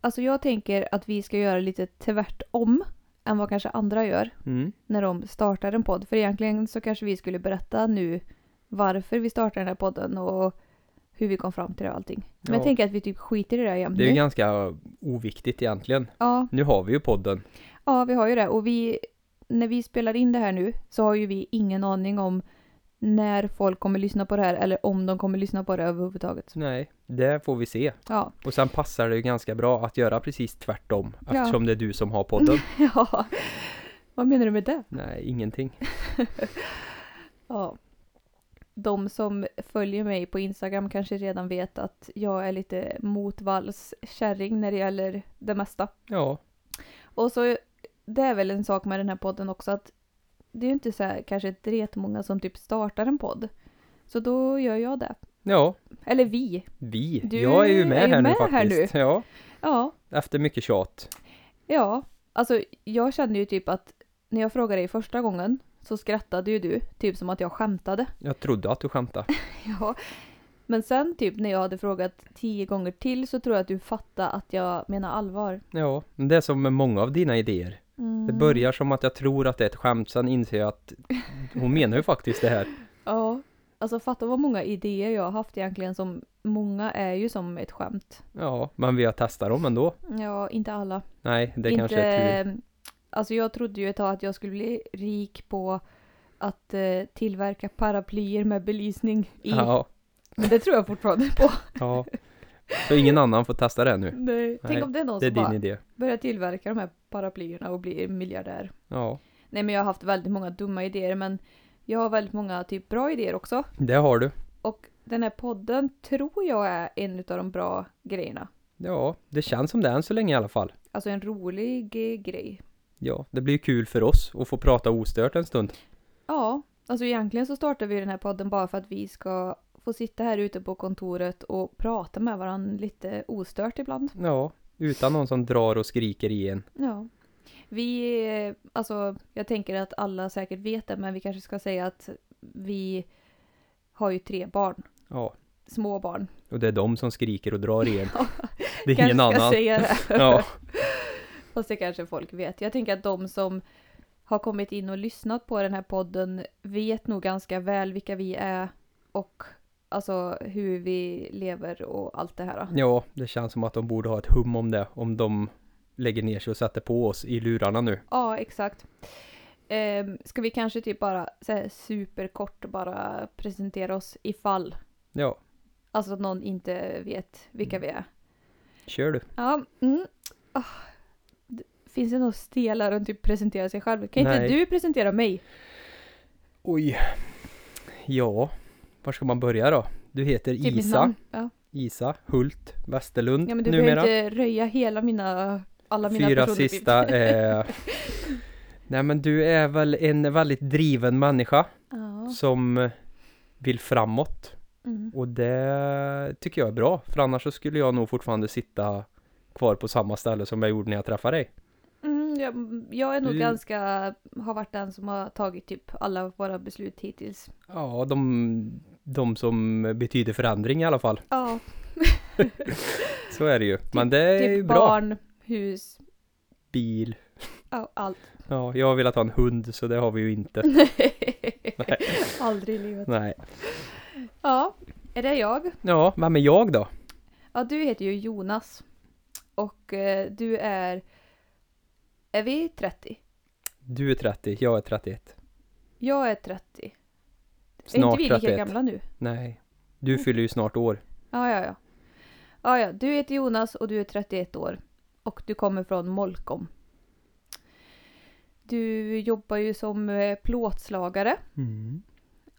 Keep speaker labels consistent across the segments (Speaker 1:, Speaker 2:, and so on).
Speaker 1: alltså jag tänker att vi ska göra lite tvärtom än vad kanske andra gör
Speaker 2: Mm.
Speaker 1: när de startar en podd. För egentligen så kanske vi skulle berätta nu varför vi startar den här podden och hur vi kom fram till det och allting. Men
Speaker 2: Ja.
Speaker 1: jag tänker att vi typ skiter i det här jämt
Speaker 2: Det är ju
Speaker 1: nu.
Speaker 2: ganska oviktigt egentligen.
Speaker 1: Ja,
Speaker 2: Nu har vi ju podden.
Speaker 1: ja, vi har ju det. Och vi, när vi spelar in det här nu så har ju vi ingen aning om när folk kommer lyssna på det här eller om de kommer lyssna på det överhuvudtaget.
Speaker 2: Så nej, det får vi se.
Speaker 1: Ja,
Speaker 2: Och sen passar det ju ganska bra att göra precis tvärtom
Speaker 1: Ja.
Speaker 2: eftersom det är du som har podden.
Speaker 1: ja. Vad menar du med det?
Speaker 2: nej, ingenting.
Speaker 1: Ja. De som följer mig på Instagram kanske redan vet att jag är lite motvallskärring när det gäller det mesta.
Speaker 2: Ja,
Speaker 1: Och så, det är väl en sak med den här podden också att det är ju inte så här kanske dretmånga som typ startar en podd. Så då gör jag det.
Speaker 2: ja,
Speaker 1: Eller vi.
Speaker 2: vi.
Speaker 1: Du
Speaker 2: jag är ju med
Speaker 1: är ju
Speaker 2: här
Speaker 1: med
Speaker 2: nu
Speaker 1: här
Speaker 2: faktiskt. Ja,
Speaker 1: Ja,
Speaker 2: efter mycket tjat.
Speaker 1: ja. Alltså jag kände ju typ att när jag frågade dig första gången så skrattade ju du, typ som att jag skämtade.
Speaker 2: Jag trodde att du skämtade.
Speaker 1: Ja. Men sen typ när jag hade frågat tio gånger till så tror jag att du fattade att jag menar allvar.
Speaker 2: Ja, men det är som med många av dina idéer. Det
Speaker 1: Mm.
Speaker 2: börjar som att jag tror att det är ett skämt, sen inser jag att hon menar ju faktiskt det här.
Speaker 1: Ja. Alltså fatta vad många idéer jag har haft egentligen som många är ju som ett skämt.
Speaker 2: Ja, men vi har testat dem ändå.
Speaker 1: Ja, inte alla.
Speaker 2: Nej, det
Speaker 1: inte,
Speaker 2: kanske är tur.
Speaker 1: Alltså jag trodde ju ett tag att jag skulle bli rik på att eh, tillverka paraplyer med belysning i.
Speaker 2: Ja,
Speaker 1: Men det tror jag fortfarande på.
Speaker 2: ja. Så ingen annan får testa det nu.
Speaker 1: Nej.
Speaker 2: Nej,
Speaker 1: Tänk om det är någon
Speaker 2: Det är
Speaker 1: som
Speaker 2: din
Speaker 1: bara
Speaker 2: idé.
Speaker 1: börjar tillverka de här paraplyerna och blir miljardär.
Speaker 2: Ja,
Speaker 1: Nej men jag har haft väldigt många dumma idéer men jag har väldigt många typ bra idéer också.
Speaker 2: det har du.
Speaker 1: Och den här podden tror jag är en av de bra grejerna.
Speaker 2: Ja, det känns som det än så länge i alla fall.
Speaker 1: Alltså en rolig eh, grej.
Speaker 2: Ja, det blir ju kul för oss att få prata ostört en stund.
Speaker 1: Ja, alltså egentligen så startar vi den här podden bara för att vi ska få sitta här ute på kontoret och prata med varandra lite ostört ibland.
Speaker 2: Ja, utan någon som drar och skriker i en.
Speaker 1: Ja. Vi, eh, alltså jag tänker att alla säkert vet det men vi kanske ska säga att vi har ju tre barn.
Speaker 2: Ja,
Speaker 1: Små barn.
Speaker 2: och det är de som skriker och drar i en. Det är ingen
Speaker 1: kanske ska
Speaker 2: annan.
Speaker 1: säga det.
Speaker 2: Ja,
Speaker 1: Fast det kanske folk vet. Jag tänker att de som har kommit in och lyssnat på den här podden vet nog ganska väl vilka vi är och alltså hur vi lever och allt det här.
Speaker 2: ja, det känns som att de borde ha ett hum om det. Om de lägger ner sig och sätter på oss i lurarna nu.
Speaker 1: Ja, exakt. Ehm, ska vi kanske typ bara så här, superkort bara presentera oss ifall
Speaker 2: Ja,
Speaker 1: alltså att någon inte vet vilka
Speaker 2: Mm.
Speaker 1: vi är.
Speaker 2: kör du.
Speaker 1: Ja, mm. Ah. D- Finns det någon stelare att typ presentera sig själv? Kan
Speaker 2: Nej.
Speaker 1: inte du presentera mig? Typ
Speaker 2: Oj. Ja, var ska man börja då? Du heter
Speaker 1: Typ mitt
Speaker 2: Isa.
Speaker 1: namn. Ja.
Speaker 2: Isa Hult Westerlund
Speaker 1: Ja men du
Speaker 2: numera.
Speaker 1: behöver inte röja hela mina, alla mina
Speaker 2: Fyra
Speaker 1: personuppgifter.
Speaker 2: sista eh... Nej men du är väl en väldigt driven människa
Speaker 1: Ja.
Speaker 2: som vill framåt.
Speaker 1: Mm.
Speaker 2: Och det tycker jag är bra, för annars så skulle jag nog fortfarande sitta kvar på samma ställe som jag gjorde när jag träffade dig.
Speaker 1: Mm, jag, jag är nog
Speaker 2: Du-
Speaker 1: ganska, har varit den som har tagit typ alla våra beslut hittills.
Speaker 2: Ja, de, de som betyder förändring i alla fall.
Speaker 1: Ja,
Speaker 2: Så är det ju. Men det är ju
Speaker 1: typ
Speaker 2: bra.
Speaker 1: barn, hus,
Speaker 2: Bil.
Speaker 1: ja, allt.
Speaker 2: Ja, jag har velat ha en hund så det har vi ju inte.
Speaker 1: Aldrig i livet.
Speaker 2: Nej.
Speaker 1: Ja, är det jag?
Speaker 2: Ja, vem är jag då?
Speaker 1: Ja, du heter ju Jonas. Och eh, du är, är vi 30?
Speaker 2: Du är 30, jag är 31.
Speaker 1: Jag är 30. är
Speaker 2: Snart
Speaker 1: inte vi lika
Speaker 2: 31.
Speaker 1: gamla Mm. nu?
Speaker 2: Nej. Du fyller ju snart år.
Speaker 1: Ja, ja, ja. Ja, ja. Du heter Jonas och du är 31 år. Och du kommer från Molkom. Du jobbar ju som eh, plåtslagare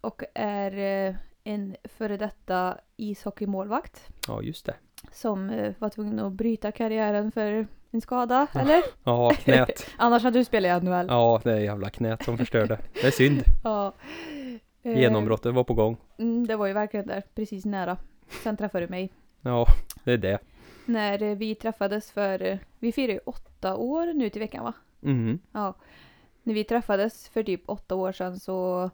Speaker 1: och är eh, en före detta ishockeymålvakt
Speaker 2: Ja, just det.
Speaker 1: som eh, var tvungen att bryta karriären för en skada, eller?
Speaker 2: Ja, knät.
Speaker 1: Annars hade du spelat i NHL.
Speaker 2: Ja, det är jävla knät som förstörde. Det är synd.
Speaker 1: Ja. Eh,
Speaker 2: Genombrottet var på gång.
Speaker 1: Mm, det var ju verkligen där, precis nära. Sen träffade du mig.
Speaker 2: Ja, det är det.
Speaker 1: När eh, vi träffades för, eh, vi firar ju åtta år nu till veckan va?
Speaker 2: Mm.
Speaker 1: Ja. När vi träffades för typ åtta år sedan så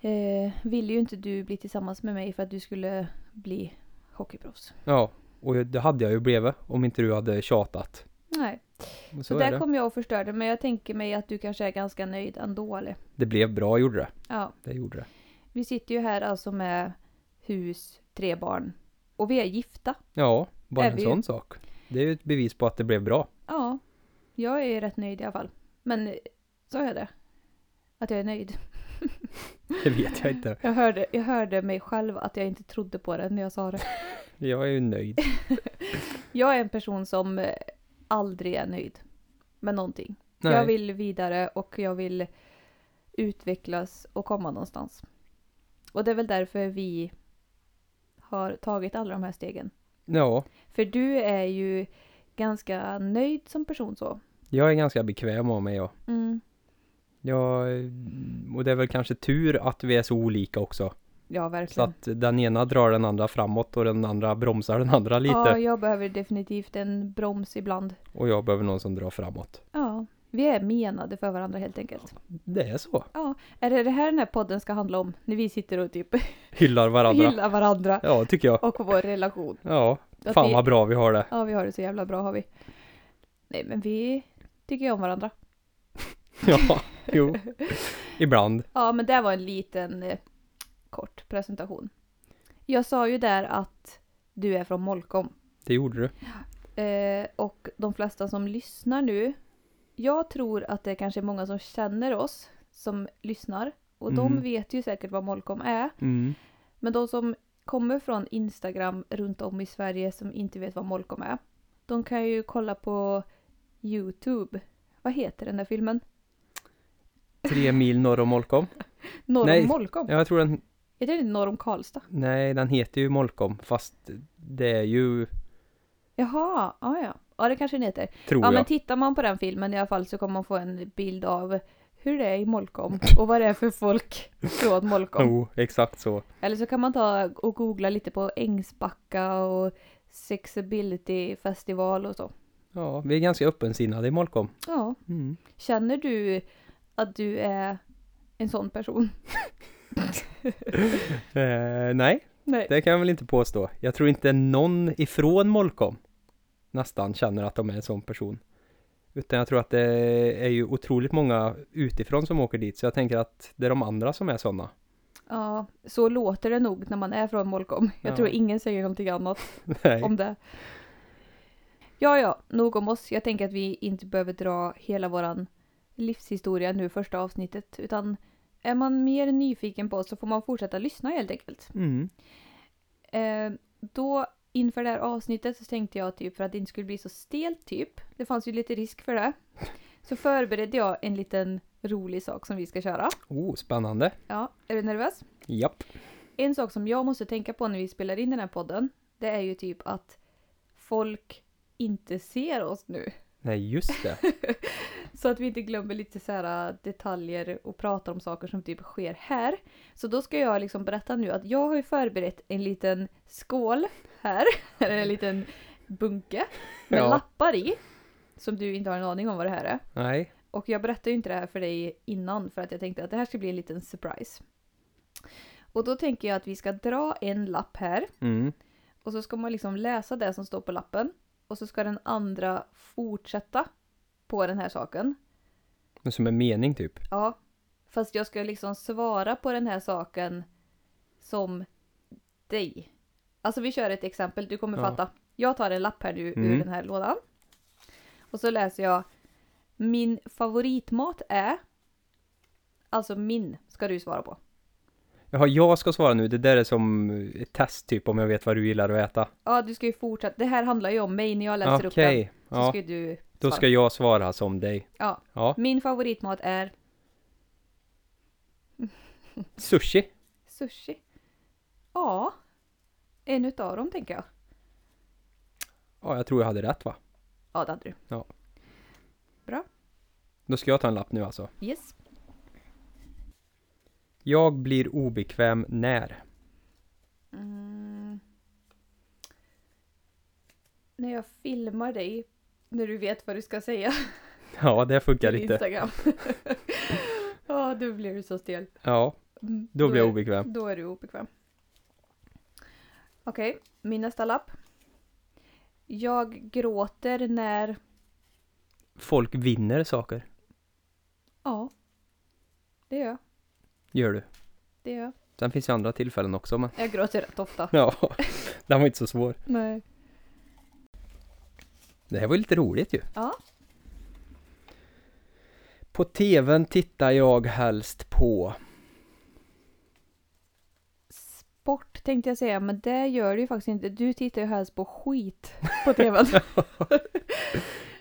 Speaker 1: eh, ville ju inte du bli tillsammans med mig för att du skulle bli hockeyproffs.
Speaker 2: Ja, Och det hade jag ju blivit om inte du hade tjatat.
Speaker 1: Nej.
Speaker 2: Och Så,
Speaker 1: Så,
Speaker 2: är
Speaker 1: där
Speaker 2: det.
Speaker 1: kom jag och förstörde men jag tänker mig att du kanske är ganska nöjd ändå eller?
Speaker 2: det blev bra, gjorde det.
Speaker 1: Ja.
Speaker 2: Det gjorde det.
Speaker 1: Vi sitter ju här alltså med hus, tre barn och vi är gifta.
Speaker 2: Ja, bara
Speaker 1: Är
Speaker 2: en
Speaker 1: vi ju.
Speaker 2: sån sak. Det är ju ett bevis på att det blev bra.
Speaker 1: Ja, jag är ju rätt nöjd i alla fall. Men eh, sa jag det? Att jag är nöjd.
Speaker 2: Det vet jag inte.
Speaker 1: Jag hörde, jag hörde mig själv att jag inte trodde på det när jag sa det.
Speaker 2: Jag är ju nöjd.
Speaker 1: Jag är en person som eh, aldrig är nöjd med någonting. Jag vill vidare och jag vill utvecklas och komma någonstans. Och det är väl därför vi har tagit alla de här stegen.
Speaker 2: Ja,
Speaker 1: För du är ju ganska nöjd som person så.
Speaker 2: jag är ganska bekväm av mig. Ja.
Speaker 1: Mm.
Speaker 2: Jag, och det är väl kanske tur att vi är så olika också.
Speaker 1: Ja,
Speaker 2: Så
Speaker 1: verkligen.
Speaker 2: att den ena drar den andra framåt och den andra bromsar den andra lite.
Speaker 1: Ja, jag behöver definitivt en broms ibland.
Speaker 2: Och jag behöver någon som drar framåt.
Speaker 1: Ja, vi är menade för varandra helt enkelt.
Speaker 2: Det är så.
Speaker 1: Är det det här den här podden ska handla om? När vi sitter och typ
Speaker 2: Hyllar varandra.
Speaker 1: gillar varandra
Speaker 2: Ja, tycker jag.
Speaker 1: och vår relation.
Speaker 2: Ja,
Speaker 1: Att
Speaker 2: fan
Speaker 1: vi-
Speaker 2: vad bra vi har det.
Speaker 1: Ja, vi har det så jävla bra har vi. Nej, men vi tycker ju om varandra.
Speaker 2: Ja, jo. Ibland.
Speaker 1: Ja, men det var en liten eh, kort presentation. Jag sa ju där att du är från Molkom.
Speaker 2: Det gjorde du.
Speaker 1: Eh, och de flesta som lyssnar nu, jag tror att det kanske är många som känner oss som lyssnar. Och de
Speaker 2: Mm.
Speaker 1: vet ju säkert vad Molkom är.
Speaker 2: Mm.
Speaker 1: Men de som kommer från Instagram runt om i Sverige som inte vet vad Molkom är. De kan ju kolla på Youtube. Vad heter den där filmen?
Speaker 2: Tre mil norr om Molkom.
Speaker 1: Norr om
Speaker 2: Nej.
Speaker 1: Molkom?
Speaker 2: Ja, jag tror den...
Speaker 1: Heter den inte Norr om Karlstad?
Speaker 2: Nej, den heter ju Molkom. Fast det är ju...
Speaker 1: Jaha, ja ja. Ja det kanske den heter.
Speaker 2: Tror
Speaker 1: Ja men
Speaker 2: jag.
Speaker 1: tittar man på den filmen i alla fall så kommer man få en bild av hur det är i Molkom och vad det är för folk från Molkom.
Speaker 2: Jo, exakt så.
Speaker 1: Eller så kan man ta och googla lite på Ängsbacka och Sexability festival och så.
Speaker 2: Ja, vi är ganska öppensinnade i Molkom.
Speaker 1: Ja.
Speaker 2: Mm.
Speaker 1: Känner du att du är en sån person?
Speaker 2: Eh, nej,
Speaker 1: Nej.
Speaker 2: det kan jag väl inte påstå. Jag tror inte någon ifrån Molkom nästan känner att de är en sån person. Utan jag tror att det är ju otroligt många utifrån som åker dit. Så jag tänker att det är de andra som är sådana.
Speaker 1: Ja, så låter det nog när man är från Molkom. Jag
Speaker 2: Ja.
Speaker 1: tror ingen säger någonting annat
Speaker 2: Nej.
Speaker 1: om det. Ja, ja, nog om oss. Jag tänker att vi inte behöver dra hela våran livshistoria nu första avsnittet utan är man mer nyfiken på oss så får man fortsätta lyssna helt enkelt.
Speaker 2: Mm.
Speaker 1: Eh, då inför det här avsnittet så tänkte jag typ för att det inte skulle bli så stelt typ. Det fanns ju lite risk för det. Så förberedde jag en liten rolig sak som vi ska köra.
Speaker 2: Oh, spännande.
Speaker 1: Ja, är du nervös?
Speaker 2: Japp.
Speaker 1: En sak som jag måste tänka på när vi spelar in den här podden. Det är ju typ att folk inte ser oss nu.
Speaker 2: Nej, just det.
Speaker 1: Så att vi inte glömmer lite så här äh, detaljer och pratar om saker som typ sker här. Så då ska jag liksom berätta nu att jag har ju förberett en liten skål här. Eller en liten bunke med
Speaker 2: Ja.
Speaker 1: lappar i. Som du inte har en aning om vad det här är.
Speaker 2: Nej.
Speaker 1: Och jag berättade ju inte det här för dig innan för att jag tänkte att det här ska bli en liten surprise. Och då tänker jag att vi ska dra en lapp här
Speaker 2: Mm.
Speaker 1: och så ska man liksom läsa det som står på lappen och så ska den andra fortsätta på den här saken.
Speaker 2: Men som en mening typ.
Speaker 1: Ja. Fast jag ska liksom svara på den här saken som dig. Alltså vi kör ett exempel, du kommer
Speaker 2: Ja.
Speaker 1: fatta. Jag tar en lapp här nu ur
Speaker 2: Mm.
Speaker 1: den här lådan. Och så läser jag Min favoritmat är Alltså min ska du svara på.
Speaker 2: Jaha, jag ska svara nu. Det där är som ett test typ om jag vet vad du gillar att äta.
Speaker 1: Ja, du ska ju fortsätta. Det här handlar ju om mig när jag läser upp den.
Speaker 2: Okej.
Speaker 1: Så
Speaker 2: Ja,
Speaker 1: ska du
Speaker 2: då
Speaker 1: svara.
Speaker 2: ska jag svara som dig.
Speaker 1: Ja.
Speaker 2: Ja.
Speaker 1: Min favoritmat är
Speaker 2: Sushi.
Speaker 1: sushi. Ja. En utav dem tänker jag.
Speaker 2: Ja, jag tror jag hade rätt va?
Speaker 1: Ja, det hade du.
Speaker 2: Då ska jag ta en lapp nu alltså.
Speaker 1: Yes.
Speaker 2: Jag blir obekväm när.
Speaker 1: Mm. När jag filmar dig, när du vet vad du ska säga
Speaker 2: Ja, det funkar
Speaker 1: till
Speaker 2: inte.
Speaker 1: Instagram. Ja, då blir du så stel.
Speaker 2: Ja,
Speaker 1: Mm,
Speaker 2: då blir jag
Speaker 1: är-
Speaker 2: obekväm.
Speaker 1: Då är du obekväm. Okej, min nästa lapp. Jag gråter när...
Speaker 2: Folk vinner saker,
Speaker 1: Ja. Det gör jag.
Speaker 2: gör du.
Speaker 1: Det gör jag.
Speaker 2: Sen finns ju andra tillfällen också men...
Speaker 1: Jag gråter rätt ofta.
Speaker 2: Ja, den var inte så svår.
Speaker 1: Nej.
Speaker 2: Det här var ju lite roligt ju.
Speaker 1: Ja.
Speaker 2: På TVn tittar jag helst på...
Speaker 1: Sport tänkte jag säga, men det gör du ju faktiskt inte. Du tittar ju helst på skit på TVn.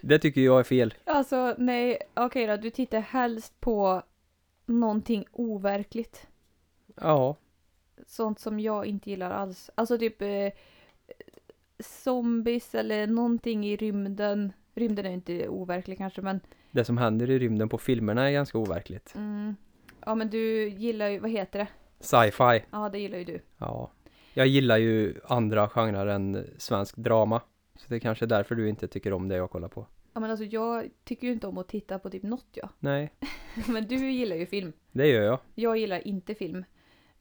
Speaker 2: Det tycker jag är fel.
Speaker 1: alltså nej, okej då. Du tittar helst på någonting overkligt.
Speaker 2: Ja.
Speaker 1: Sånt som jag inte gillar alls. Alltså typ eh, zombies eller någonting i rymden. Rymden är ju inte overklig kanske men
Speaker 2: Det som händer i rymden på filmerna är ganska overkligt.
Speaker 1: mm, Ja men du gillar ju, vad heter det?
Speaker 2: Sci-fi.
Speaker 1: Ja det gillar ju du.
Speaker 2: Ja. Jag gillar ju andra genrer än svensk drama. Så det är kanske är därför du inte tycker om det jag kollar på.
Speaker 1: Ja men alltså jag tycker ju inte om att titta på typ något jag.
Speaker 2: Nej,
Speaker 1: Men du gillar ju film.
Speaker 2: det gör jag.
Speaker 1: Jag gillar inte film.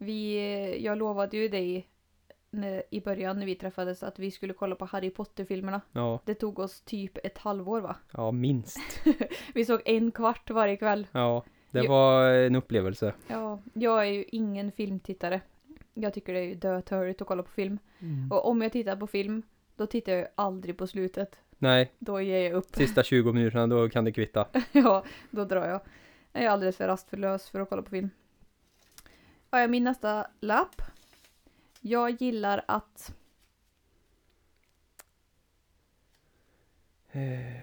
Speaker 1: Vi, eh, jag lovade ju dig när, i början när vi träffades att vi skulle kolla på Harry Potter-filmerna.
Speaker 2: Ja,
Speaker 1: Det tog oss typ ett halvår va?
Speaker 2: ja minst.
Speaker 1: Vi såg en kvart varje kväll.
Speaker 2: Ja, det
Speaker 1: Jo.
Speaker 2: var eh, en upplevelse.
Speaker 1: Ja, jag är ju ingen filmtittare. Jag tycker det är ju dötörigt att kolla på film. Och om jag tittar på film, då tittar jag ju aldrig på slutet.
Speaker 2: Nej,
Speaker 1: Då ger jag upp.
Speaker 2: sista 20 minuterna då kan det kvitta.
Speaker 1: ja, då drar jag. Jag är alldeles för rastförlös för att kolla på film. Ja, min nästa lapp. Jag gillar att...
Speaker 2: Eh,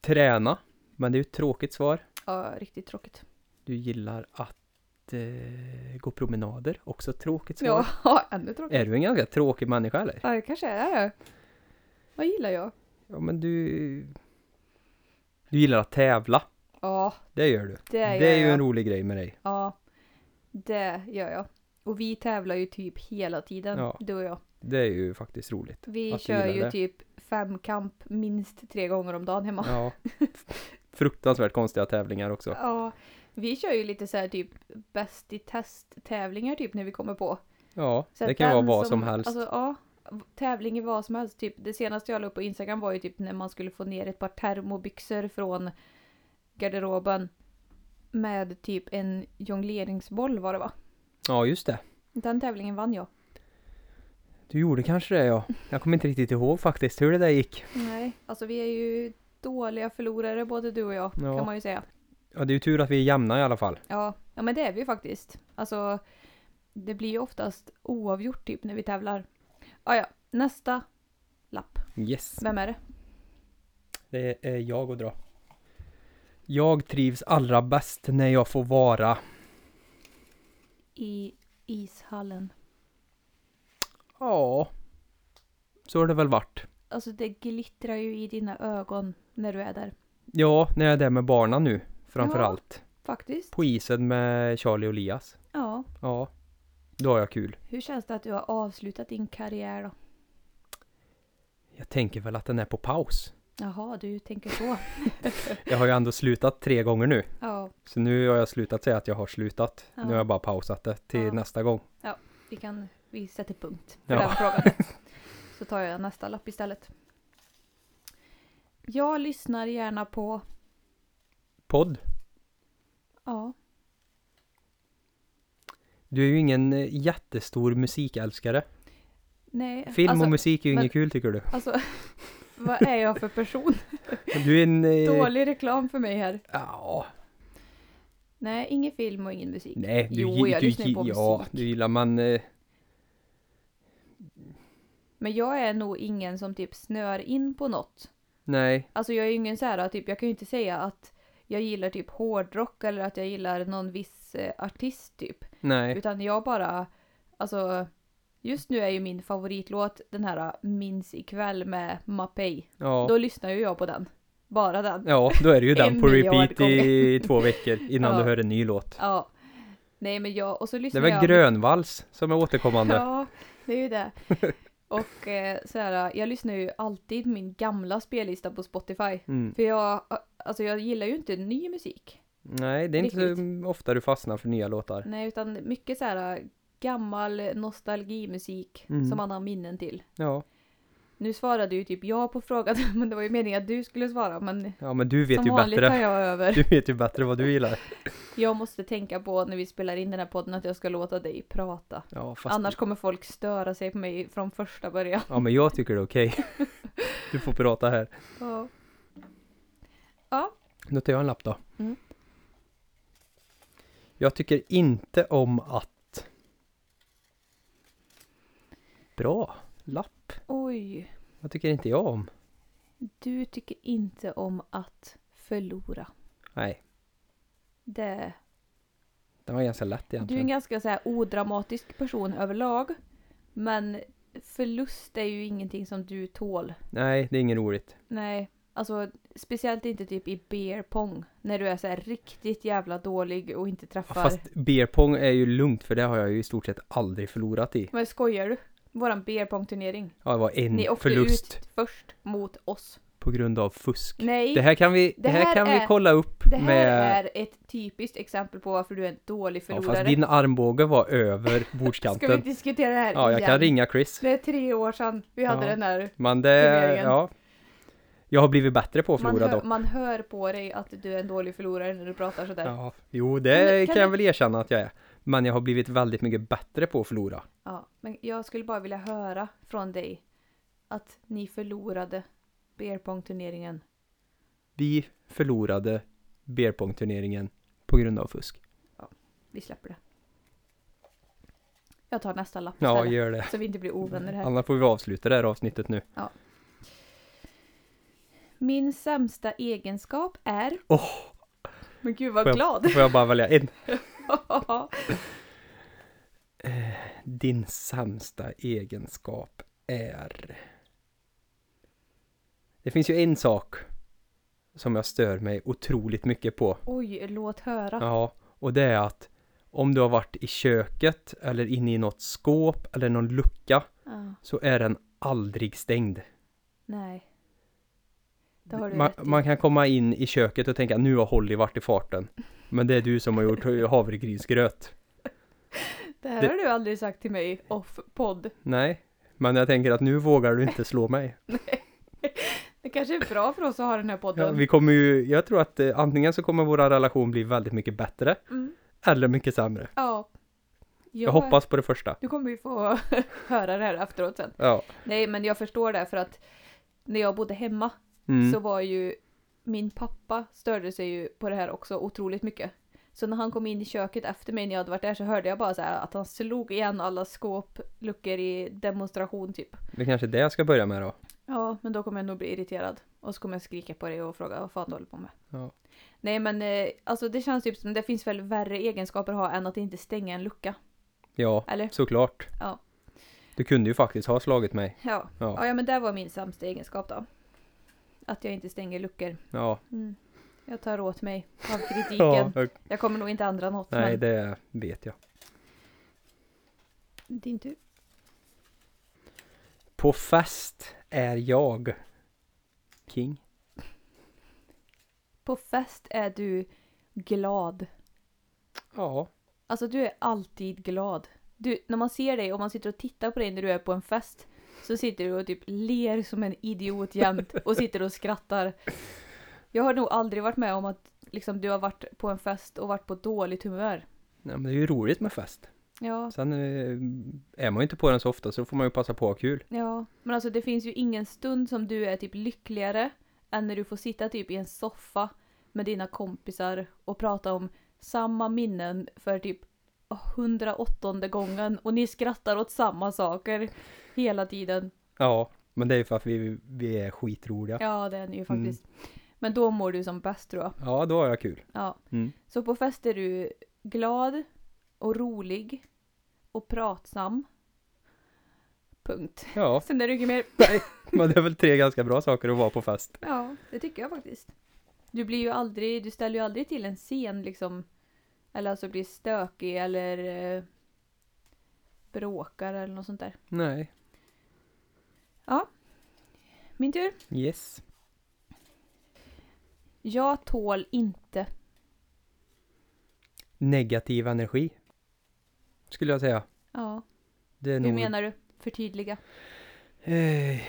Speaker 2: träna. Men det är ju ett tråkigt svar.
Speaker 1: Ja, riktigt tråkigt.
Speaker 2: Du gillar att eh, gå promenader. Också ett tråkigt svar.
Speaker 1: Ja, ännu tråkigare.
Speaker 2: Är du en ganska tråkig människa eller?
Speaker 1: Ja, det kanske är det. Vad gillar jag?
Speaker 2: Ja, men du... Du gillar att tävla.
Speaker 1: Ja,
Speaker 2: Det gör du.
Speaker 1: det gör
Speaker 2: Det är ju
Speaker 1: jag.
Speaker 2: en rolig grej med dig.
Speaker 1: Ja, det gör jag. Och vi tävlar ju typ hela tiden,
Speaker 2: Ja.
Speaker 1: du och jag.
Speaker 2: Det är ju faktiskt roligt.
Speaker 1: Vi
Speaker 2: Att du
Speaker 1: kör
Speaker 2: gillar
Speaker 1: ju
Speaker 2: det.
Speaker 1: typ femkamp minst tre gånger om dagen hemma.
Speaker 2: Ja. Fruktansvärt konstiga tävlingar också.
Speaker 1: Ja, vi kör ju lite så här typ bäst i test-tävlingar typ när vi kommer på.
Speaker 2: Ja,
Speaker 1: Så
Speaker 2: det
Speaker 1: att
Speaker 2: kan vara
Speaker 1: den
Speaker 2: vad som helst.
Speaker 1: Alltså, ja, v- tävling i vad som helst. Typ, det senaste jag la upp på Instagram var ju typ när man skulle få ner ett par termobyxor från garderoben. Med typ en jongleringsboll var det va?
Speaker 2: Ja, just det.
Speaker 1: Den tävlingen vann jag.
Speaker 2: Du gjorde kanske det ja. Jag kommer inte riktigt ihåg faktiskt hur det där gick.
Speaker 1: Nej, alltså vi är ju dåliga förlorare både du och jag
Speaker 2: Ja.
Speaker 1: kan man ju säga.
Speaker 2: Ja, det är ju tur att vi är jämna i alla fall.
Speaker 1: Ja, ja men det är vi ju faktiskt. Alltså, det blir ju oftast oavgjort typ när vi tävlar. Ah, ja, nästa lapp.
Speaker 2: Yes.
Speaker 1: Vem är det?
Speaker 2: Det är jag och dra. Jag trivs allra bäst när jag får vara.
Speaker 1: I ishallen.
Speaker 2: Ja. Så har det väl varit.
Speaker 1: Alltså det glittrar ju i dina ögon när du är där.
Speaker 2: Ja, när jag är där med barna nu. Framförallt.
Speaker 1: Faktiskt.
Speaker 2: På isen med Charlie och Elias.
Speaker 1: Ja.
Speaker 2: Ja. Då har jag kul.
Speaker 1: Hur känns det att du har avslutat din karriär då?
Speaker 2: Jag tänker väl att den är på paus.
Speaker 1: Jaha, du tänker så.
Speaker 2: Jag har ju ändå slutat tre gånger nu.
Speaker 1: Ja,
Speaker 2: Så nu har jag slutat säga att jag har slutat.
Speaker 1: Ja.
Speaker 2: Nu har jag bara pausat det till
Speaker 1: Ja.
Speaker 2: nästa gång.
Speaker 1: vi kan... Vi sätter punkt för
Speaker 2: Ja.
Speaker 1: den frågan. Så tar jag nästa lapp istället. Jag lyssnar gärna på...
Speaker 2: Podd.
Speaker 1: Ja.
Speaker 2: Du är ju ingen eh, jättestor musikälskare.
Speaker 1: Nej.
Speaker 2: Film
Speaker 1: alltså,
Speaker 2: och musik är ju
Speaker 1: men-
Speaker 2: inget kul tycker du.
Speaker 1: Alltså, vad är jag för person?
Speaker 2: Du är en... eh,
Speaker 1: Dålig reklam för mig här.
Speaker 2: Ja.
Speaker 1: Nej, ingen film och ingen musik.
Speaker 2: Nej, du,
Speaker 1: Jo,
Speaker 2: gi-
Speaker 1: jag
Speaker 2: du,
Speaker 1: lyssnar ju
Speaker 2: gi-
Speaker 1: på
Speaker 2: ja,
Speaker 1: musik.
Speaker 2: du gillar man... eh,
Speaker 1: Men jag är nog ingen som typ snör in på något.
Speaker 2: Nej.
Speaker 1: Alltså jag är ju ingen så här, typ, jag kan ju inte säga att jag gillar typ hårdrock eller att jag gillar någon viss eh, artist typ.
Speaker 2: Nej.
Speaker 1: Utan jag bara, alltså just nu är ju min favoritlåt den här eh, Minns ikväll med Mapei.
Speaker 2: Ja.
Speaker 1: Då lyssnar ju jag på den. Bara den.
Speaker 2: Ja, då är det ju den
Speaker 1: En
Speaker 2: på
Speaker 1: miljard
Speaker 2: repeat i två veckor innan
Speaker 1: Ja.
Speaker 2: du hör en ny låt.
Speaker 1: Ja. Nej men jag, och så
Speaker 2: Det är
Speaker 1: lyssnar
Speaker 2: väl
Speaker 1: jag...
Speaker 2: grönvals som är återkommande.
Speaker 1: Ja, det är ju det. Och eh, så här, jag lyssnar ju alltid min gamla spellista på Spotify.
Speaker 2: Mm.
Speaker 1: För jag, alltså jag gillar ju inte ny musik.
Speaker 2: Nej, det är inte
Speaker 1: Riktigt.
Speaker 2: så ofta du fastnar för nya låtar.
Speaker 1: Nej, utan mycket så här gammal nostalgimusik
Speaker 2: Mm.
Speaker 1: som man har minnen till.
Speaker 2: Ja,
Speaker 1: Nu svarade ju typ jag på frågan, men det var ju meningen att du skulle svara. Men
Speaker 2: Ja men du vet
Speaker 1: som
Speaker 2: ju
Speaker 1: vanligt tar
Speaker 2: bättre.
Speaker 1: jag över.
Speaker 2: Du vet ju bättre vad du gillar.
Speaker 1: Jag måste tänka på när vi spelar in den här podden att jag ska låta dig prata.
Speaker 2: Ja, fast
Speaker 1: Annars kommer folk störa sig på mig från första början.
Speaker 2: ja men jag tycker det är okej. Du får prata här.
Speaker 1: Ja.
Speaker 2: Nu tar jag en lapp då.
Speaker 1: Mm.
Speaker 2: Jag tycker inte om att... Bra lapp.
Speaker 1: Oj,
Speaker 2: Vad tycker inte jag om?
Speaker 1: du tycker inte om att förlora.
Speaker 2: Nej,
Speaker 1: Det.
Speaker 2: den var ganska lätt
Speaker 1: Du är en
Speaker 2: egentligen.
Speaker 1: ganska så här odramatisk person överlag. Men förlust är ju ingenting som du tål.
Speaker 2: Nej, det är inget roligt.
Speaker 1: Nej, alltså speciellt inte typ i beer pong. När du är så här riktigt jävla dålig och inte
Speaker 2: Ja,
Speaker 1: träffar.
Speaker 2: Fast beer pong är ju lugnt för det har jag ju i stort sett aldrig förlorat i.
Speaker 1: Men skojar du? Våran beer pong turnering.
Speaker 2: Ja, det var
Speaker 1: Ni
Speaker 2: en
Speaker 1: åkte
Speaker 2: Mm, förlust
Speaker 1: ut först mot oss.
Speaker 2: på grund av fusk.
Speaker 1: Nej,
Speaker 2: Det
Speaker 1: det här,
Speaker 2: här kan vi, det
Speaker 1: Det
Speaker 2: här
Speaker 1: här
Speaker 2: kan vi
Speaker 1: är-
Speaker 2: kolla upp med...
Speaker 1: är ett typiskt exempel på varför du är en dålig
Speaker 2: Ja,
Speaker 1: förlorare.
Speaker 2: fast din armbåge var över
Speaker 1: Ska vi
Speaker 2: bordskanten.
Speaker 1: inte diskutera det här
Speaker 2: Ja, jag
Speaker 1: igen?
Speaker 2: kan ringa Chris.
Speaker 1: Det är tre år sedan vi hade
Speaker 2: Ja.
Speaker 1: den här.
Speaker 2: Men det,
Speaker 1: turneringen.
Speaker 2: ja. Jag har blivit bättre på att
Speaker 1: Man
Speaker 2: förlora
Speaker 1: hör,
Speaker 2: dock.
Speaker 1: man hör på dig att du är en dålig förlorare när du pratar sådär. Ja.
Speaker 2: Ja. Jo,
Speaker 1: Kan
Speaker 2: det
Speaker 1: du-
Speaker 2: kan,
Speaker 1: kan
Speaker 2: jag
Speaker 1: du-
Speaker 2: väl erkänna att jag är. Men jag har blivit väldigt mycket bättre på att förlora.
Speaker 1: men jag skulle bara vilja höra från dig att ni förlorade beer pong turneringen.
Speaker 2: Vi förlorade beerpong-turneringen på grund av fusk.
Speaker 1: Vi släpper det. Jag tar nästa lapp
Speaker 2: Ja,
Speaker 1: istället.
Speaker 2: gör det.
Speaker 1: Så vi inte blir ovänner här.
Speaker 2: Annars får vi avsluta det här avsnittet nu.
Speaker 1: Min sämsta egenskap är...
Speaker 2: Åh!
Speaker 1: Men gud vad
Speaker 2: Får
Speaker 1: glad!
Speaker 2: Då får jag bara välja en. Din sämsta egenskap är... Det finns ju en sak som jag stör mig otroligt mycket på.
Speaker 1: Oj, låt höra.
Speaker 2: Ja, och det är att om du har varit i köket eller inne i något skåp eller någon lucka
Speaker 1: Ja,
Speaker 2: så är den aldrig stängd.
Speaker 1: nej. Det har du
Speaker 2: Man,
Speaker 1: rätt i.
Speaker 2: man kan komma in i köket och tänka nu har Holly varit i farten. Men det är du som har gjort havregrynsgröt.
Speaker 1: Det här
Speaker 2: det-
Speaker 1: har du aldrig sagt till mig off-podd.
Speaker 2: Nej, men jag tänker att nu vågar du inte slå mig.
Speaker 1: Det kanske är bra för oss att ha den här
Speaker 2: Ja,
Speaker 1: podden.
Speaker 2: vi kommer ju, jag tror att eh, antingen så kommer vår relation bli väldigt mycket bättre
Speaker 1: Mm,
Speaker 2: eller mycket sämre.
Speaker 1: ja.
Speaker 2: Jag hoppas på det första.
Speaker 1: Du kommer ju få höra det här efteråt sen.
Speaker 2: Ja.
Speaker 1: Nej, men jag förstår det för att när jag bodde hemma
Speaker 2: Mm.
Speaker 1: så var ju min pappa störde sig ju på det här också otroligt mycket. Så när han kom in i köket efter mig när jag hade varit där så hörde jag bara så här att han slog igen alla skåpluckor i demonstration typ.
Speaker 2: Det kanske är det jag ska börja med då.
Speaker 1: Ja, men då kommer jag nog bli irriterad. Och så kommer jag skrika på dig och fråga vad fan du håller på med.
Speaker 2: Ja.
Speaker 1: Nej men eh, alltså det känns typ som det finns väl värre egenskaper att ha än att inte stänga en lucka.
Speaker 2: Ja,
Speaker 1: Eller?
Speaker 2: såklart.
Speaker 1: Ja.
Speaker 2: Du kunde ju faktiskt ha slagit mig.
Speaker 1: Ja.
Speaker 2: Ja.
Speaker 1: Ja, ja men det var min sämsta egenskap då. Att jag inte stänger luckor.
Speaker 2: ja.
Speaker 1: Mm. Jag tar åt mig av
Speaker 2: ja.
Speaker 1: kritiken. Jag kommer nog inte ändra något.
Speaker 2: Nej,
Speaker 1: men...
Speaker 2: det vet jag.
Speaker 1: Din tur.
Speaker 2: På fest är jag king.
Speaker 1: På fest är du glad.
Speaker 2: Ja.
Speaker 1: Alltså du är alltid glad. Du, när man ser dig och man sitter och tittar på dig när du är på en fest så sitter du och typ ler som en idiot jämt och sitter och skrattar. Jag har nog aldrig varit med om att liksom, du har varit på en fest och varit på dåligt humör.
Speaker 2: Nej, men det är ju roligt med fest.
Speaker 1: Ja,
Speaker 2: Sen eh, är man ju inte på den så ofta så då får man ju passa på att ha kul.
Speaker 1: ja. Men alltså det finns ju ingen stund som du är typ lyckligare än när du får sitta typ i en soffa med dina kompisar och prata om samma minnen för typ 108 gången och ni skrattar åt samma saker hela tiden.
Speaker 2: Ja, men det är ju för att vi, vi är skitroliga. Ja.
Speaker 1: Ja, det är ni ju faktiskt. Men då mår du som bäst tror jag.
Speaker 2: då har jag kul.
Speaker 1: Ja.
Speaker 2: Mm.
Speaker 1: Så på fest är du glad och rolig och pratsam. Punkt.
Speaker 2: Ja,
Speaker 1: Sen är det inget mer.
Speaker 2: men det är väl tre ganska bra saker att vara på fest.
Speaker 1: Ja, det tycker jag faktiskt. Du blir ju aldrig, du ställer ju aldrig till en scen liksom. Eller alltså blir stökig eller eh, bråkar eller något sånt där.
Speaker 2: Nej.
Speaker 1: Min tur.
Speaker 2: Yes.
Speaker 1: Jag tål inte.
Speaker 2: Negativ energi. Skulle jag säga.
Speaker 1: Ja,
Speaker 2: Det är
Speaker 1: hur
Speaker 2: nog...
Speaker 1: menar du? Förtydliga.
Speaker 2: Eh,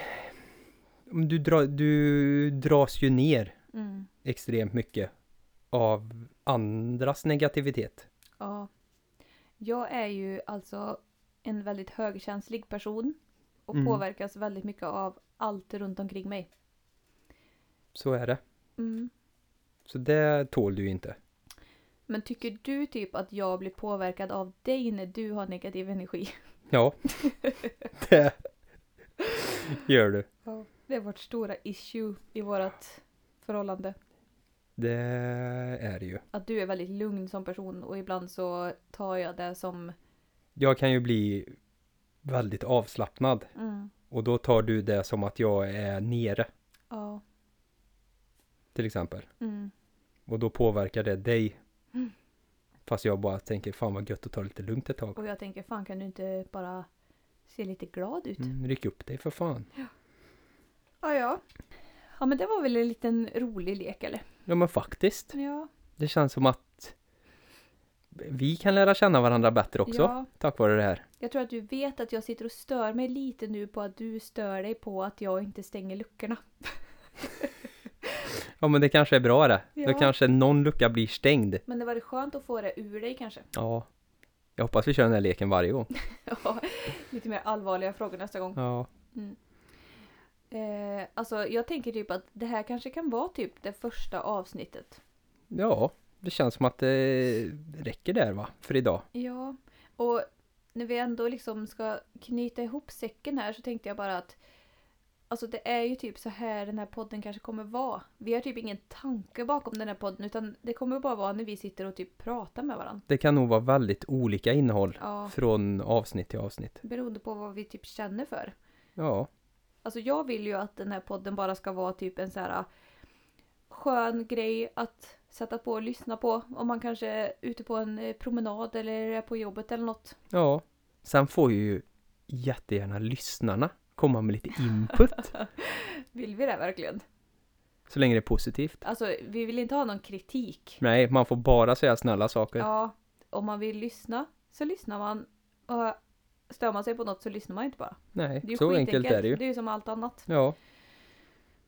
Speaker 2: Men Du, dra, du dras ju ner
Speaker 1: Mm.
Speaker 2: extremt mycket av andras negativitet.
Speaker 1: Ja. Jag är ju alltså en väldigt högkänslig person och
Speaker 2: Mm.
Speaker 1: påverkas väldigt mycket av allt runt omkring mig.
Speaker 2: Så är det.
Speaker 1: Mm.
Speaker 2: Så det tål du ju inte.
Speaker 1: Men tycker du typ att jag blir påverkad av dig när du har negativ energi?
Speaker 2: Ja, det gör du.
Speaker 1: Det är vårt stora issue i vårt förhållande.
Speaker 2: Det är det ju.
Speaker 1: Att du är väldigt lugn som person och ibland så tar jag det som...
Speaker 2: Jag kan ju bli väldigt avslappnad
Speaker 1: Mm.
Speaker 2: och då tar du det som att jag är nere
Speaker 1: Ja.
Speaker 2: till exempel.
Speaker 1: Mm.
Speaker 2: Och då påverkar det dig.
Speaker 1: Mm.
Speaker 2: Fast jag bara tänker fan vad gött att ta det lite lugnt ett tag.
Speaker 1: Och jag tänker, fan kan du inte bara se lite glad ut?
Speaker 2: Mm, ryck upp dig för fan.
Speaker 1: Ja, ja. Ja, men det var väl en liten rolig lek eller?
Speaker 2: Ja men faktiskt.
Speaker 1: Ja.
Speaker 2: Det känns som att vi kan lära känna varandra bättre också.
Speaker 1: Ja.
Speaker 2: Tack vare det här.
Speaker 1: Jag tror att du vet att jag sitter och stör mig lite nu på att du stör dig på att jag inte stänger luckorna.
Speaker 2: Ja men det kanske är bra det. Då
Speaker 1: Ja.
Speaker 2: kanske någon lucka blir stängd.
Speaker 1: Men det var skönt att få det ur dig kanske.
Speaker 2: Ja. Jag hoppas vi kör den här leken varje gång.
Speaker 1: Ja, lite mer allvarliga frågor nästa gång.
Speaker 2: Ja.
Speaker 1: Eh, alltså jag tänker typ att det här kanske kan vara typ det första avsnittet.
Speaker 2: Ja. Det känns som att det räcker där va? För idag.
Speaker 1: Ja, och när vi ändå liksom ska knyta ihop säcken här så tänkte jag bara att Alltså det är ju typ så här den här podden kanske kommer vara. Vi har typ ingen tanke bakom den här podden utan det kommer bara vara när vi sitter och typ pratar med varandra.
Speaker 2: Det kan nog vara väldigt olika innehåll.
Speaker 1: Ja,
Speaker 2: Från avsnitt till avsnitt.
Speaker 1: beroende på vad vi typ känner för.
Speaker 2: Ja.
Speaker 1: Alltså jag vill ju att den här podden bara ska vara typ en så här skön grej att sätta på och lyssna på om man kanske är ute på en eh, promenad eller är på jobbet eller något.
Speaker 2: Ja. Sen får ju jättegärna lyssnarna komma med lite input.
Speaker 1: Vill vi det verkligen?
Speaker 2: så länge det är positivt.
Speaker 1: Alltså vi vill inte ha någon kritik.
Speaker 2: Nej, man får bara säga snälla saker.
Speaker 1: Ja, om man vill lyssna så lyssnar man och stör man sig på något så lyssnar man inte bara.
Speaker 2: Nej,
Speaker 1: Det är ju
Speaker 2: så
Speaker 1: skitenkelt.
Speaker 2: enkelt är det ju.
Speaker 1: Det är ju som allt annat.
Speaker 2: Ja,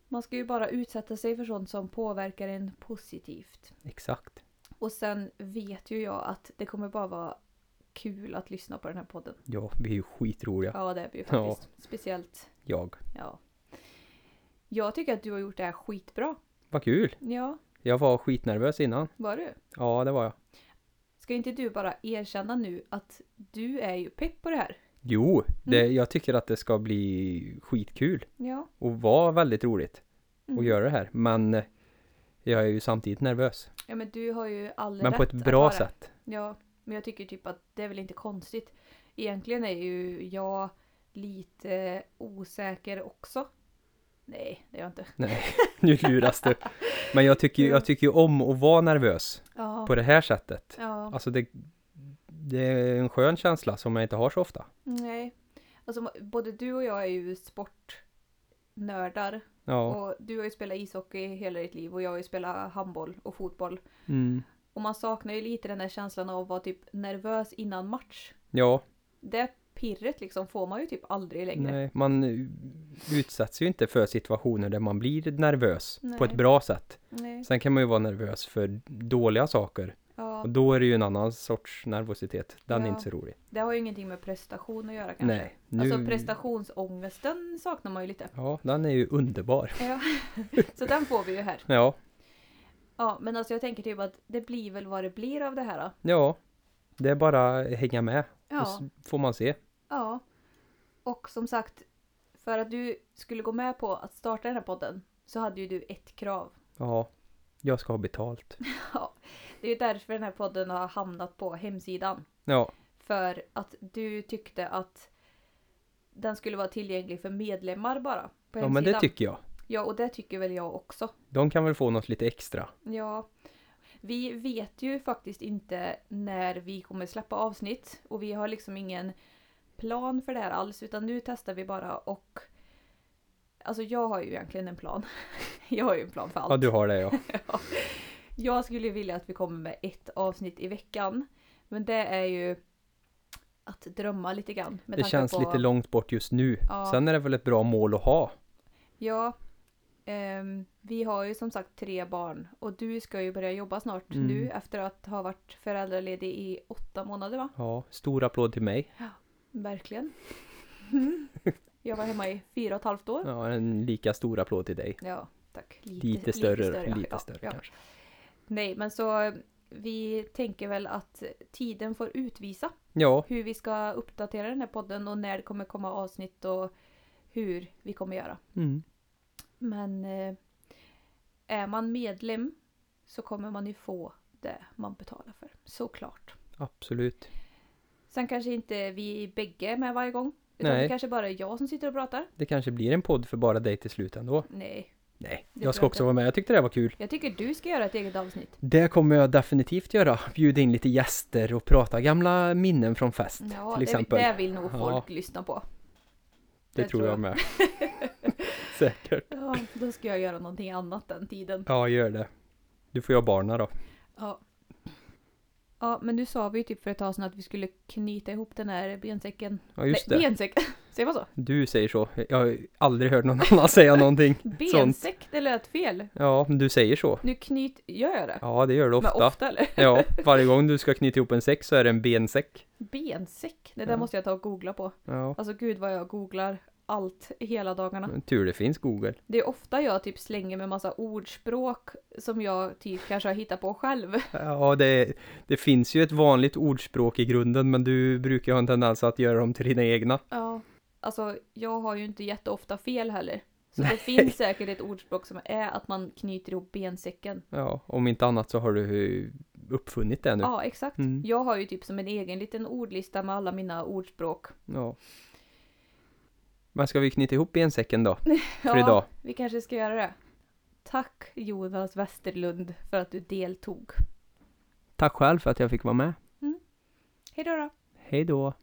Speaker 1: Man ska ju bara utsätta sig för sånt som påverkar en positivt.
Speaker 2: exakt.
Speaker 1: Och sen vet ju jag att det kommer bara vara kul att lyssna på den här podden.
Speaker 2: Ja, vi är ju skitroliga.
Speaker 1: Ja, det är vi ju
Speaker 2: Ja.
Speaker 1: faktiskt. Speciellt,
Speaker 2: Jag.
Speaker 1: ja. Jag tycker att du har gjort det här skitbra.
Speaker 2: Vad kul!
Speaker 1: Ja,
Speaker 2: Jag var skitnervös innan.
Speaker 1: var du?
Speaker 2: Ja, det var jag.
Speaker 1: Ska inte du bara erkänna nu att du är ju pepp på det här?
Speaker 2: Jo, det,
Speaker 1: Mm.
Speaker 2: jag tycker att det ska bli skitkul
Speaker 1: Ja.
Speaker 2: och vara väldigt roligt
Speaker 1: Mm.
Speaker 2: att göra det här. Men eh, jag är ju samtidigt nervös.
Speaker 1: Ja, men du har ju all
Speaker 2: Men
Speaker 1: rätt
Speaker 2: på ett
Speaker 1: att
Speaker 2: bra
Speaker 1: vara-
Speaker 2: sätt.
Speaker 1: Ja, men jag tycker typ att det är väl inte konstigt. Egentligen är ju jag lite osäker också. Nej, det är jag inte.
Speaker 2: Nej, nu luras du. Men jag tycker ju jag tycker ju om att vara nervös
Speaker 1: Mm. Ja.
Speaker 2: på det här sättet.
Speaker 1: ja.
Speaker 2: Alltså det, det är en skön känsla som jag inte har så ofta.
Speaker 1: Nej. Alltså, både du och jag är ju sportnördar.
Speaker 2: Ja.
Speaker 1: Och du har ju spelat ishockey hela ditt liv och jag har ju spelat handboll och fotboll.
Speaker 2: Mm.
Speaker 1: Och man saknar ju lite den där känslan av att vara typ nervös innan match.
Speaker 2: Ja,
Speaker 1: Det pirret liksom får man ju typ aldrig längre.
Speaker 2: nej, man eh, utsätts ju inte för situationer där man blir nervös på ett
Speaker 1: Nej.
Speaker 2: bra sätt.
Speaker 1: Nej.
Speaker 2: Sen kan man ju vara nervös för dåliga saker
Speaker 1: Ja,
Speaker 2: och då är det ju en annan sorts nervositet. Den är
Speaker 1: Ja.
Speaker 2: inte så rolig.
Speaker 1: det har ju ingenting med prestation att göra kanske.
Speaker 2: Nej, nu...
Speaker 1: Alltså prestationsångesten saknar man ju lite.
Speaker 2: Ja, den är ju underbar.
Speaker 1: Ja. Så den får vi ju här.
Speaker 2: Ja,
Speaker 1: Ja, men alltså jag tänker typ att det blir väl vad det blir av det här då.
Speaker 2: ja. Det är bara att hänga med och
Speaker 1: Ja.
Speaker 2: s- får man se.
Speaker 1: Ja. Och som sagt, för att du skulle gå med på att starta den här podden så hade ju du ett krav.
Speaker 2: Ja, jag ska ha betalt.
Speaker 1: Ja. Det är ju därför den här podden har hamnat på hemsidan.
Speaker 2: Ja,
Speaker 1: För att du tyckte att den skulle vara tillgänglig för medlemmar bara. På
Speaker 2: ja
Speaker 1: hemsidan.
Speaker 2: men det tycker jag.
Speaker 1: Ja, och det tycker väl jag också.
Speaker 2: De kan väl få något lite extra.
Speaker 1: Ja. Vi vet ju faktiskt inte när vi kommer släppa avsnitt och vi har liksom ingen plan för det här alls utan nu testar vi bara och Alltså jag har ju egentligen en plan. Jag har ju en plan för allt.
Speaker 2: Ja, du har det ja.
Speaker 1: Jag skulle ju vilja att vi kommer med ett avsnitt i veckan. Men det är ju att drömma lite grann. med
Speaker 2: Det
Speaker 1: tanke
Speaker 2: känns
Speaker 1: på-
Speaker 2: lite långt bort just nu.
Speaker 1: Ja.
Speaker 2: Sen är det väl ett bra mål att ha.
Speaker 1: Ja. ehm, vi har ju som sagt tre barn och du ska ju börja jobba snart
Speaker 2: Mm.
Speaker 1: nu efter att ha varit föräldraledig i åtta månader va?
Speaker 2: Ja, stor applåd till mig.
Speaker 1: Verkligen. Jag var hemma i fyra och ett halvt år.
Speaker 2: Ja, en lika stor applåd till dig.
Speaker 1: Ja, tack.
Speaker 2: Lite, större, lite större,
Speaker 1: ja. Ja, ja.
Speaker 2: kanske.
Speaker 1: Nej, men så eh, vi tänker väl att tiden får utvisa
Speaker 2: Ja,
Speaker 1: hur vi ska uppdatera den här podden och när det kommer komma avsnitt och hur vi kommer göra.
Speaker 2: mm.
Speaker 1: Men eh, är man medlem så kommer man ju få det man betalar för, såklart.
Speaker 2: absolut.
Speaker 1: Sen kanske inte vi bägge är med varje gång. Utan
Speaker 2: Nej.
Speaker 1: det kanske bara är jag som sitter och pratar.
Speaker 2: Det kanske blir en podd för bara dig till slut ändå.
Speaker 1: Nej.
Speaker 2: Nej,
Speaker 1: Det
Speaker 2: jag
Speaker 1: tror
Speaker 2: ska
Speaker 1: jag
Speaker 2: också
Speaker 1: inte.
Speaker 2: vara med. Jag tyckte det var kul.
Speaker 1: Jag tycker du ska göra ett eget avsnitt.
Speaker 2: Det kommer jag definitivt göra. Bjuda in lite gäster och prata gamla minnen från fest.
Speaker 1: Ja,
Speaker 2: till
Speaker 1: det,
Speaker 2: exempel.
Speaker 1: det vill nog
Speaker 2: Ja.
Speaker 1: folk lyssna på.
Speaker 2: det,
Speaker 1: det
Speaker 2: tror
Speaker 1: tror
Speaker 2: jag,
Speaker 1: jag.
Speaker 2: med. Säkert.
Speaker 1: Ja, då ska jag göra någonting annat den tiden.
Speaker 2: Ja, gör det. Du får jag barna då.
Speaker 1: Ja. Ja, men nu sa vi ju typ för ett tag sedan att vi skulle knyta ihop den här bensäcken.
Speaker 2: Ja, just
Speaker 1: Nej,
Speaker 2: det.
Speaker 1: bensäck! Säger man så?
Speaker 2: Du säger så. Jag har aldrig hört någon annan säga någonting.
Speaker 1: Bensäck, det lät fel.
Speaker 2: Ja, men du säger så.
Speaker 1: Nu knyt... Gör jag det?
Speaker 2: Ja, det gör du
Speaker 1: Men
Speaker 2: ofta.
Speaker 1: ofta eller?
Speaker 2: Ja, varje gång du ska knyta ihop en säck så är det en bensäck.
Speaker 1: Bensäck? Det där
Speaker 2: Ja.
Speaker 1: måste jag ta och googla på.
Speaker 2: Ja,
Speaker 1: Alltså gud vad jag googlar allt hela dagarna.
Speaker 2: tur det finns Google.
Speaker 1: Det är ofta jag typ slänger med massa ordspråk som jag typ kanske har hittat på själv.
Speaker 2: Ja, det, det finns ju ett vanligt ordspråk i grunden, men du brukar ju ha en tendens att göra dem till dina egna.
Speaker 1: Ja. Alltså, jag har ju inte jätteofta fel heller. Så det finns säkert ett ordspråk som är att man knyter ihop bensäcken.
Speaker 2: Ja, om inte annat så har du eh, uppfunnit det nu.
Speaker 1: Ja, exakt.
Speaker 2: Mm.
Speaker 1: Jag har ju typ som en egen liten ordlista med alla mina ordspråk.
Speaker 2: Ja. Men ska vi knyta ihop bensäcken då, för
Speaker 1: Ja,
Speaker 2: idag?
Speaker 1: vi kanske ska göra det. Tack Jonas Westerlund för att du deltog.
Speaker 2: Tack själv för att jag fick vara med.
Speaker 1: Hej då! då.
Speaker 2: Hej då!